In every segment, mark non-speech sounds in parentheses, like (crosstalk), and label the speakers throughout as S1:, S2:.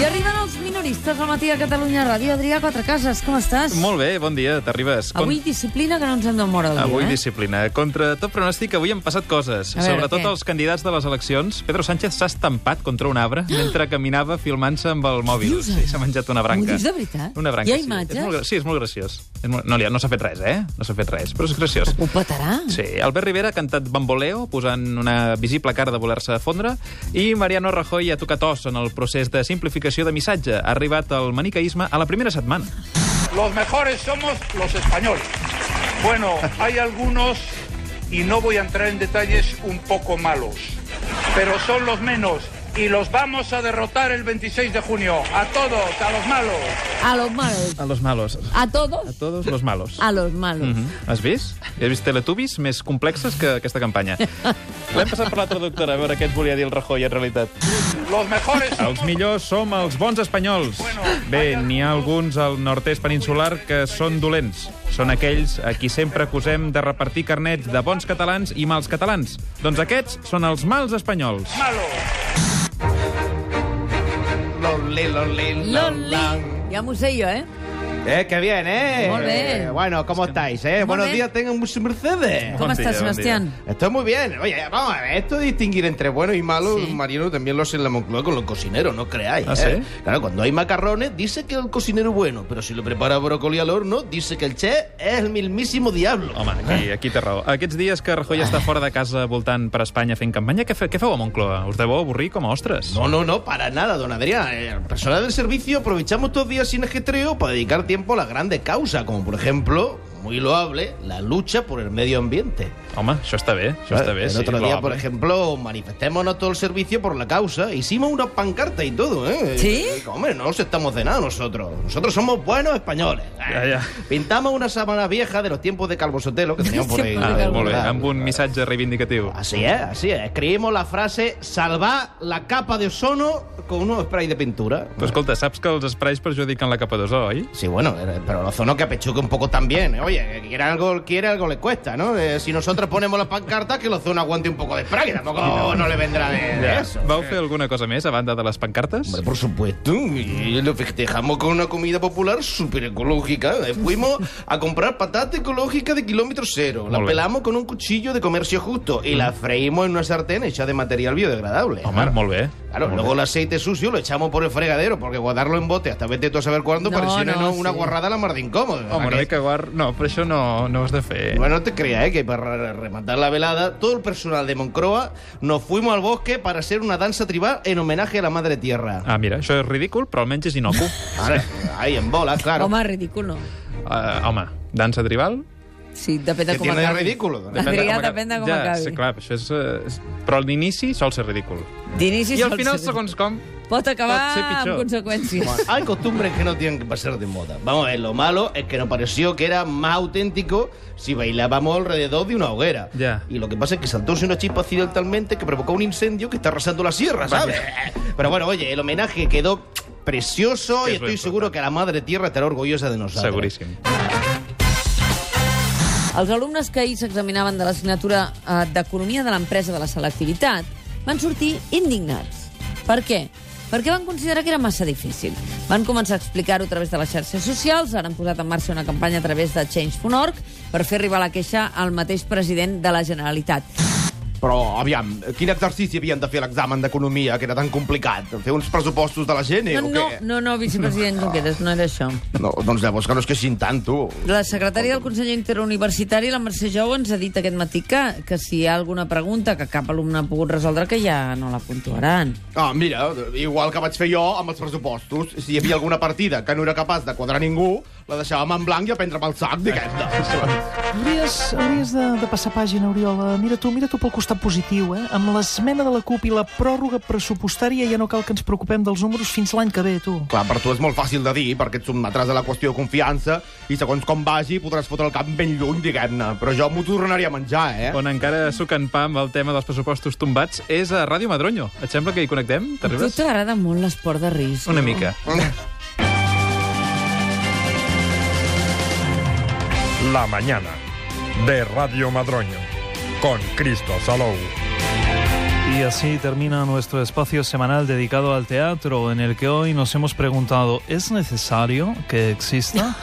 S1: I arriben els minoristes al matí a Catalunya Ràdio. Adrià Quatrecases, com estàs?
S2: Molt bé, bon dia, t'arribes.
S1: Avui disciplina que no ens hem de moure el dia,
S2: Avui
S1: eh?
S2: disciplina. Contra tot pronòstic, avui han passat coses.
S1: A veure,
S2: Sobretot
S1: què?
S2: els candidats de les eleccions. Pedro Sánchez s'ha estampat contra un
S1: Ah!
S2: arbre mentre caminava filmant-se amb el mòbil.
S1: dius,
S2: Sí,
S1: ara?
S2: s'ha menjat una
S1: Ho
S2: branca.
S1: dius de veritat?
S2: Una branca,
S1: Hi ha
S2: sí.
S1: imatges?
S2: És molt, gra- sí, és molt graciós. És molt... No, li ha- no s'ha fet res, eh? No s'ha fet res, però és graciós.
S1: Ho petarà?
S2: Sí, Albert Rivera ha cantat Bamboleo, posant una visible cara de voler-se fondre, i Mariano Rajoy ha tocat os en el procés de simplificació de missatge. Ha arribat el maniqueisme a la primera setmana.
S3: Los mejores somos los españoles. Bueno, hay algunos, y no voy a entrar en detalles, un poco malos, pero son los menos. Y los vamos a derrotar el 26 de junio. A todos, a los malos.
S1: A los malos.
S2: A los malos.
S1: A
S2: A
S1: todos?
S2: todos los malos.
S1: A los malos.
S2: Mm -hmm. Has vist? He vist teletubbies més complexes que aquesta campanya. (laughs) L'hem passat per la traductora, a veure què ens volia dir el Rajoy, en realitat.
S3: Los mejores
S2: Els
S3: somos...
S2: millors som els bons espanyols. Bé, n'hi ha alguns al nord-est peninsular que són dolents. Són aquells a qui sempre acusem de repartir carnets de bons catalans i mals catalans. Doncs aquests són els mals espanyols.
S3: Malos.
S4: Loli, loli,
S1: Loli. Ya me sé yo, ¿eh?
S4: Eh, qué bien, ¿eh?
S1: Muy bien.
S4: Eh, bueno, ¿cómo estáis, eh?
S1: Muy
S4: Buenos
S1: bien.
S4: días, tengan muchos Mercedes.
S1: ¿Cómo
S2: Buen
S1: estás,
S2: día, buen
S1: Sebastián?
S4: Estoy muy bien. Oye, vamos a ver, esto de distinguir entre bueno y malo,
S1: Sí.
S4: Mariano también lo hace en la Moncloa con los cocineros, no creáis.
S2: ¿Ah,
S4: eh?
S2: sí?
S4: Claro, cuando hay macarrones, dice que el cocinero es bueno, pero si lo prepara brócoli al horno, dice que el chef es el mismísimo diablo.
S2: Home, aquí, aquí té raó. Aquests dies que Rajoy està fora de casa voltant per Espanya fent campanya, què, fe, què feu a Moncloa? Us deveu avorrir com a ostres.
S4: No, no, no, para nada, don Adrián. Eh, El personal del servicio aprovechamos estos días sin ajetreo para dedicar tiempo a las grandes causas, como por ejemplo, muy loable, la lucha por el medio ambiente.
S2: Home, això està bé, això està bé.
S4: el
S2: sí,
S4: otro día,
S2: loable.
S4: por ejemplo, manifestémonos todo el servicio por la causa. Hicimos una pancarta y todo, ¿eh?
S1: ¿Sí?
S4: Eh, Hombre, no nos estamos de nada nosotros. Nosotros somos buenos españoles.
S2: Ya, ya.
S4: Pintamos una sábana vieja de los tiempos de Calvo
S2: (laughs)
S4: Sotelo que teníamos por ahí.
S1: Tiempos de
S2: Ah,
S1: Calvo
S2: molt bé,
S4: Ah,
S2: amb un missatge reivindicatiu.
S1: Ah,
S4: Así es, así es. Escribimos la frase salvar la capa de ozono con unos sprays de pintura.
S2: Però escolta, saps que els esprais perjudiquen la capa d'ozó, oi?
S4: Sí, bueno, eh, pero el ozono que apechuque un poco también. ¿eh? Oye, que quiera algo, quiere algo le cuesta, ¿no? Eh, si nosotros ponemos las pancartas, que el ozono aguante un poco de spray, que tampoco no le vendrá de, de eso.
S2: Vau fer alguna cosa més a banda de les pancartes?
S4: Hombre, por supuesto, y lo festejamos con una comida popular súper ecológica. Eh, Fuimos a comprar patata ecológica de kilómetro cero. La
S2: Molt bé.
S4: pelamos con un cuchillo de comercio justo y la freímos en una sartén hecha de material biodegradable.
S2: Home, molt bé.
S4: Claro,
S2: molt
S4: luego el aceite sucio lo echamos por el fregadero, porque guardarlo en bote hasta vete tú a saber cuándo
S1: No,
S4: parecía
S1: no,
S4: una- una
S1: sí.
S4: guarrada a la mar de incómodo.
S2: Home, una mica guard... No, però això no, no ho has de fer.
S4: Bueno, no te creas, ¿eh? que para rematar la velada, todo el personal de Moncroa nos fuimos al bosque para hacer una danza tribal en homenaje a la Madre Tierra.
S2: Ah, mira, això és ridícul, però almenys és
S1: (laughs)
S2: inocu.
S4: Ahora, ahí en bola, claro.
S1: Home, ridículo.
S2: Uh, home, dansa tribal?
S1: Sí, depèn de
S4: Que
S1: com
S4: tiene de
S1: acabi.
S4: ridículo, doncs.
S1: Adrià,
S2: com acabi.
S1: depèn de com
S2: ja,
S1: acabi.
S2: Sí, clar, això és, eh, és... Però a l'inici sol ser ridícul.
S1: D'inici
S2: I al
S1: sol
S2: final,
S1: ser-
S2: segons com...
S1: Pot acabar
S2: pot ser pitjor.
S1: amb conseqüències.
S4: Bueno, Hay costumbres que no tienen que pasar de moda. Vamos a ver, lo malo es que nos pareció que era más auténtico si bailábamos alrededor de una hoguera.
S2: Ya.
S4: Y lo que pasa es que saltóse una chispa accidentalmente que provocó un incendio que está arrasando la sierra, ¿sabes? Pero bueno, oye, el homenaje quedó precioso
S2: Que
S4: y
S2: es lo
S4: estoy seguro
S2: importante.
S4: que la madre tierra estará orgullosa de nosotros.
S2: Seguríssim.
S1: Els alumnes que ahir s'examinaven de l'assignatura eh, d'Economia de l'empresa de la selectivitat van sortir indignats. Per què? Perquè van considerar que era massa difícil. Van començar a explicar-ho a través de les xarxes socials, ara han posat en marxa una campanya a través de Change.org per fer arribar la queixa al mateix president de la Generalitat.
S5: Però, aviam, quin exercici havien de fer a l'examen d'economia, que era tan complicat? Fer uns pressupostos de la gent, eh,
S1: No,
S5: o
S1: no,
S5: què?
S1: no, no vicepresident Junqueras, no era això.
S5: No, doncs llavors que no es queixin tant, tu.
S1: La secretària del Consell Interuniversitari, la Mercè Jou, ens ha dit aquest matí que, que si hi ha alguna pregunta que cap alumne ha pogut resoldre, que ja no la puntuaran.
S5: Ah, mira, igual que vaig fer jo amb els pressupostos. Si hi havia alguna partida que no era capaç de quadrar ningú, la deixàvem en blanc i a prendre pel sac, (laughs) diguem-ne.
S6: Hauries, hauries de, de passar pàgina, Oriola. Mira tu, mira tu pel costat positiu, eh? Amb l'esmena de la CUP i la pròrroga pressupostària ja no cal que ens preocupem dels números fins l'any que ve, tu.
S5: Clar, per tu és molt fàcil de dir, perquè et sotmetràs a la qüestió de confiança i segons com vagi podràs fotre el cap ben lluny, diguem-ne. Però jo m'ho tornaria a menjar, eh?
S2: On encara suquen pa amb el tema dels pressupostos tombats és a Ràdio Madronyo. Et sembla que hi connectem?
S1: A tu
S2: T'arribes?
S1: t'agrada molt l'esport de risc.
S2: Una mica.
S7: La mañana de Radio Madroño con Cristo Salou. Y así termina nuestro espacio semanal dedicado al teatro, en el que hoy nos hemos preguntado, ¿es necesario que exista?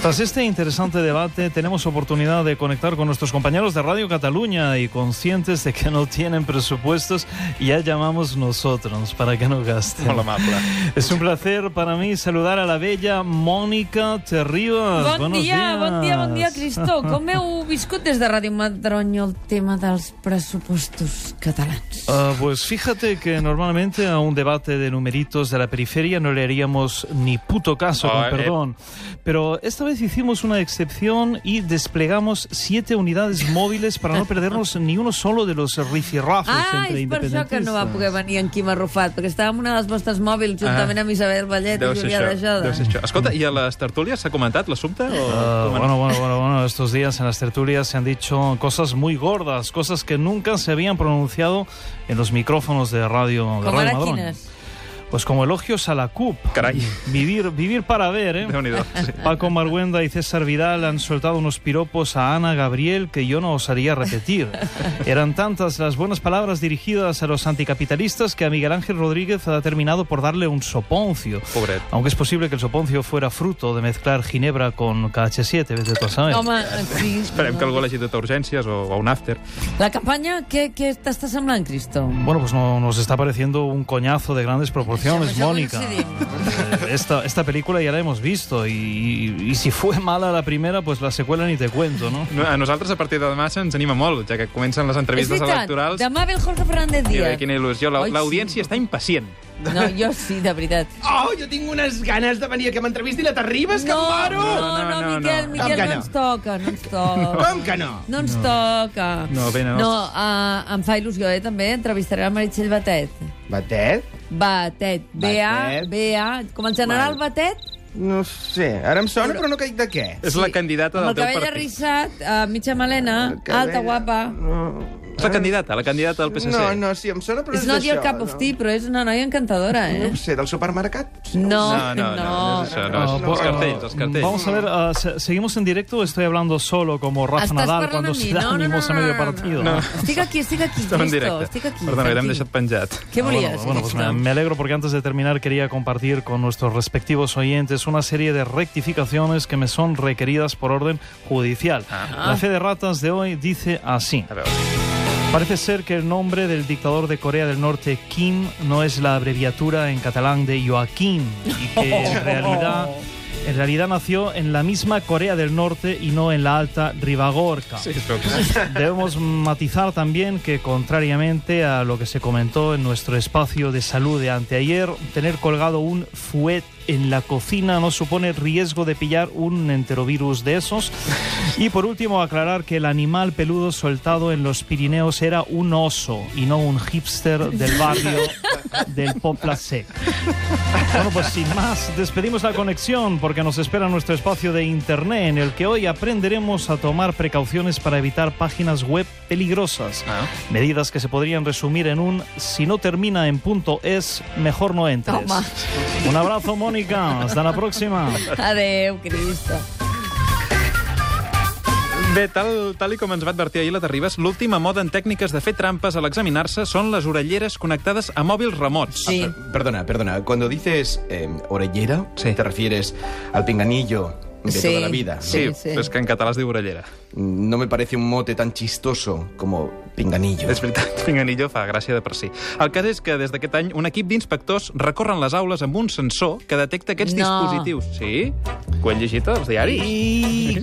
S7: Tras este interesante debate, tenemos oportunidad de conectar con nuestros compañeros de Radio Cataluña y conscientes de que no tienen presupuestos, ya llamamos nosotros para que no gasten.
S2: Molt amable.
S7: Es un placer para mí saludar a la bella Mónica
S1: Bon
S7: Terribas. Buenos
S1: dia,
S7: días.
S1: bon dia, bon dia, Cristó. Com heu viscut des de Ràdio Madronyo el tema dels pressupostos catalans?
S7: Ah, pues fíjate que normalmente a un debate de numeritos de la periferia no le haríamos ni puto caso,
S2: Ah,
S7: con
S2: eh.
S7: perdón. Pero esta vez hicimos una excepción y desplegamos siete
S1: (laughs)
S7: unidades móviles para no perdernos ni uno solo de los rifirrafes
S1: Ah, és
S7: entre
S1: per això
S7: independentistas.
S1: que no va poder venir en Quim Arrufat, perquè estava en una de les vostres mòbils juntament amb Isabel Vallet i
S2: Ah, Deu ser
S1: Julià
S2: això.
S1: Rajoda.
S2: Deu ser això. Escolta, i a les tertúlies s'ha comentat l'assumpte? O...
S7: Ah,
S2: com ha
S7: bueno, bueno, bueno, bueno, estos días en las tertulias se han dicho cosas muy gordas, cosas que nunca se habían pronunciado en los micrófonos de radio. de
S1: Com
S7: Radio
S1: ara
S7: Madrón.
S1: quines?
S7: Pues como elogios a la CUP.
S2: Caray.
S7: Vivir, vivir para ver, ¿eh?
S2: Déu-n'hi-do. Sí.
S7: Paco Marguenda y César Vidal han soltado unos piropos a Ana Gabriel que yo no osaría repetir. Eran tantas las buenas palabras dirigidas a los anticapitalistas que a Miguel Ángel Rodríguez ha terminado por darle un soponcio.
S2: Pobret.
S7: Aunque es posible que el soponcio fuera fruto de mezclar Ginebra con KH7, vete tú a saber.
S1: Home, sí.
S2: Eh, Esperem que algú l'hagi dut a urgències o a un after.
S1: La campanya, què, què t'està semblant, Cristó?
S7: Bueno, pues no, nos está pareciendo un coñazo de grandes proporciones,
S1: Eso- eso
S7: Mónica.
S1: coincidimos.
S7: Eh, Esta, esta película ya la hemos visto y, y- y si fue mala la primera, pues la secuela ni te cuento, ¿no?
S2: No, A nosaltres, a partir de demà, se'ns anima molt, ja que comencen les
S1: És
S2: entrevistes
S1: veritat,
S2: electorals.
S1: demà ve el Jorge Fernández
S2: Mira,
S1: Díaz.
S2: quina il·lusió. La-
S1: Ai, sí.
S2: L'audiència està impacient.
S1: No, jo sí, de veritat.
S5: Oh, jo tinc unes ganes de venir a que m'entrevisti la Terribas, que
S1: no,
S5: em moro!
S1: no, no,
S2: No, no,
S1: no,
S2: no,
S1: Miquel,
S2: no.
S1: Miquel,
S5: Com que
S1: no
S5: no?
S1: ens toca, no ens toca.
S5: Com que no?
S1: No ens toca.
S2: No, bé, no.
S1: No, uh, em fa il·lusió, eh, també. Entrevistaré la Meritxell Batet.
S5: Batet?
S1: Batet. B-A,
S5: Batet.
S1: B-A. Com el general Batet,
S5: No sé, ara em sona, però no caic de què.
S2: És la candidata
S1: amb
S2: del
S1: el
S2: teu
S1: cabell
S2: partit. Ah,
S1: arrissat, uh, mitja melena,
S5: El cabell-
S1: alta, guapa.
S2: És la candidata, la candidata del PSC.
S5: No, no, sí, em sona, però
S1: És
S5: és
S1: not
S5: d'això.
S1: your cup of tea, però és una noia encantadora,
S5: No
S1: eh?
S5: ho sé, del supermercat?
S1: No,
S2: No, no, no, no és això, no, és-
S7: Ah,
S2: els
S7: ah,
S2: cartells, els cartells.
S7: Vamos a ver, ah, se- ¿seguimos en directo o estoy hablando solo como Rafa
S1: Estàs
S7: Nadal
S1: parlant
S7: cuando
S1: amb mi?
S7: se
S1: No,
S7: da
S1: no, no,
S7: ánimos a
S1: no,
S7: medio
S1: no, no.
S7: partido? Ah.
S2: No.
S1: Estic aquí, estic aquí,
S2: Estem en
S1: Cristo,
S2: directe.
S1: estic aquí.
S2: Perdona, l'hem
S1: tranquil.
S2: deixat penjat.
S1: Què
S7: Ah,
S1: volies?
S7: Bueno, bueno, pues me,
S1: Cristo?
S7: me alegro porque antes de terminar quería compartir con nuestros respectivos oyentes una serie de rectificaciones que me son requeridas por orden judicial. La fe de ratas de hoy dice así.
S2: A veure.
S7: Parece ser que el nombre del dictador de Corea del Norte, Kim, no es la abreviatura en catalán de Joaquín y que en realidad, en realidad nació en la misma Corea del Norte y no en la alta Ribagorca.
S2: Sí, és el-
S7: (laughs) Debemos matizar también que, contrariamente a lo que se comentó en nuestro espacio de salud de anteayer, tener colgado un fuet en la cocina no supone riesgo de pillar un enterovirus de esos. Y por último, aclarar que el animal peludo soltado en los Pirineos era un oso y no un hipster del barrio del Popla Sec. Bueno, pues sin más, despedimos la conexión porque nos espera nuestro espacio de internet en el que hoy aprenderemos a tomar precauciones para evitar páginas web peligrosas.
S2: Ah.
S7: Medidas que se podrían resumir en un si no termina en punto es, mejor no entres.
S1: Toma.
S7: Un abrazo, Mónica. Hasta la próxima.
S1: Adéu, Cristo.
S2: Bé, tal, tal i com ens va advertir ahir la Terribas, l'última moda en tècniques de fer trampes a l'examinar-se són les orelleres connectades a mòbils remots.
S1: Sí.
S4: Ah, Perdona, perdona. Cuando dices eh, orellera,
S2: Sí.
S4: te refieres al pinganillo de
S1: Sí.
S4: toda la vida.
S1: Sí,
S2: Sí,
S1: sí.
S2: però és que en català es diu orellera.
S4: No me parece un mote tan chistoso como pinganillo.
S2: És veritat, Pinganillo fa gràcia de per si. El cas és que des d'aquest any un equip d'inspectors recorren les aules amb un sensor que detecta aquests
S1: No.
S2: dispositius. Sí? Ho han llegit als diaris?
S7: Y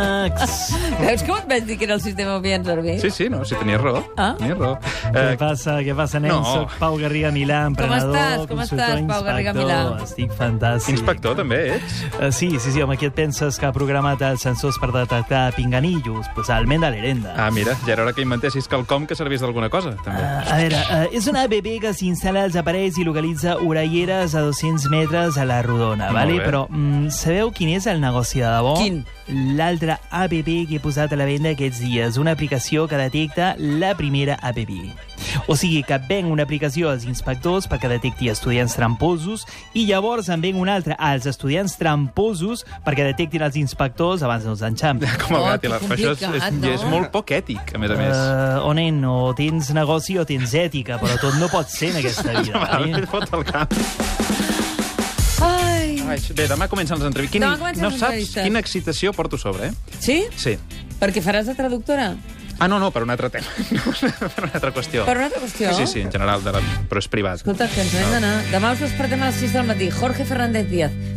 S7: cracks.
S1: Veus com et vaig dir que era el sistema Bien Servei?
S2: Sí, sí, no, si tenies raó.
S1: Ah.
S2: Tenies raó.
S7: Què
S2: Eh,
S7: passa? Què passa, nen?
S2: No.
S7: Soc Pau Garriga Milà, emprenedor,
S1: estàs? Com
S7: consultor,
S1: estàs, Pau Garriga
S7: inspector.
S1: Milà?
S7: Estic fantàstic.
S2: inspector, també ets?
S7: Eh, sí, sí, sí, home, qui et penses que ha programat els sensors per detectar pinganillos? Pues el men de l'herenda.
S2: Ah, mira, ja era hora que inventessis quelcom que servís d'alguna cosa, també.
S1: Ah.
S7: Eh, a veure, eh, és una ABB que s'instal·la als aparells i localitza orelleres a 200 metres a la rodona,
S2: Molt
S7: vale?
S2: bé.
S7: però mm, sabeu quin és el negoci de debò?
S1: Quin?
S7: L'altra ABB que he posat a la venda aquests dies, una aplicació que detecta la primera ABB. O sigui que ven una aplicació als inspectors perquè detecti estudiants tramposos i llavors en ven una altra als estudiants tramposos perquè detectin els inspectors abans
S2: (laughs)
S7: dels enxampi.
S2: Com el
S1: Oh,
S2: gat i
S1: que
S2: la... Això és, és,
S1: complicat, no? Ah.
S2: és molt poc ètic, a més a més.
S7: Uh, o nen, o tens negoci o tens ètica, però tot no pot ser en aquesta
S2: (laughs)
S7: vida.
S2: Uh...
S7: eh?
S2: Fot el cap.
S1: Ai,
S2: Ai, bé, demà comencen les entrevistes.
S1: Demà comencen
S2: no
S1: les
S2: saps
S1: entrevistes.
S2: quina excitació porto a sobre, eh?
S1: sí?
S2: Sí.
S1: Perquè faràs de traductora?
S2: Ah, no, no, per un altre tema. (laughs) No, per una altra qüestió.
S1: Per una altra qüestió?
S2: Sí, sí, en general, de la... però és privat.
S1: Escolta, que ens n'hem d'anar. Demà us despertem a les 6 del matí. Jorge Fernández Díaz,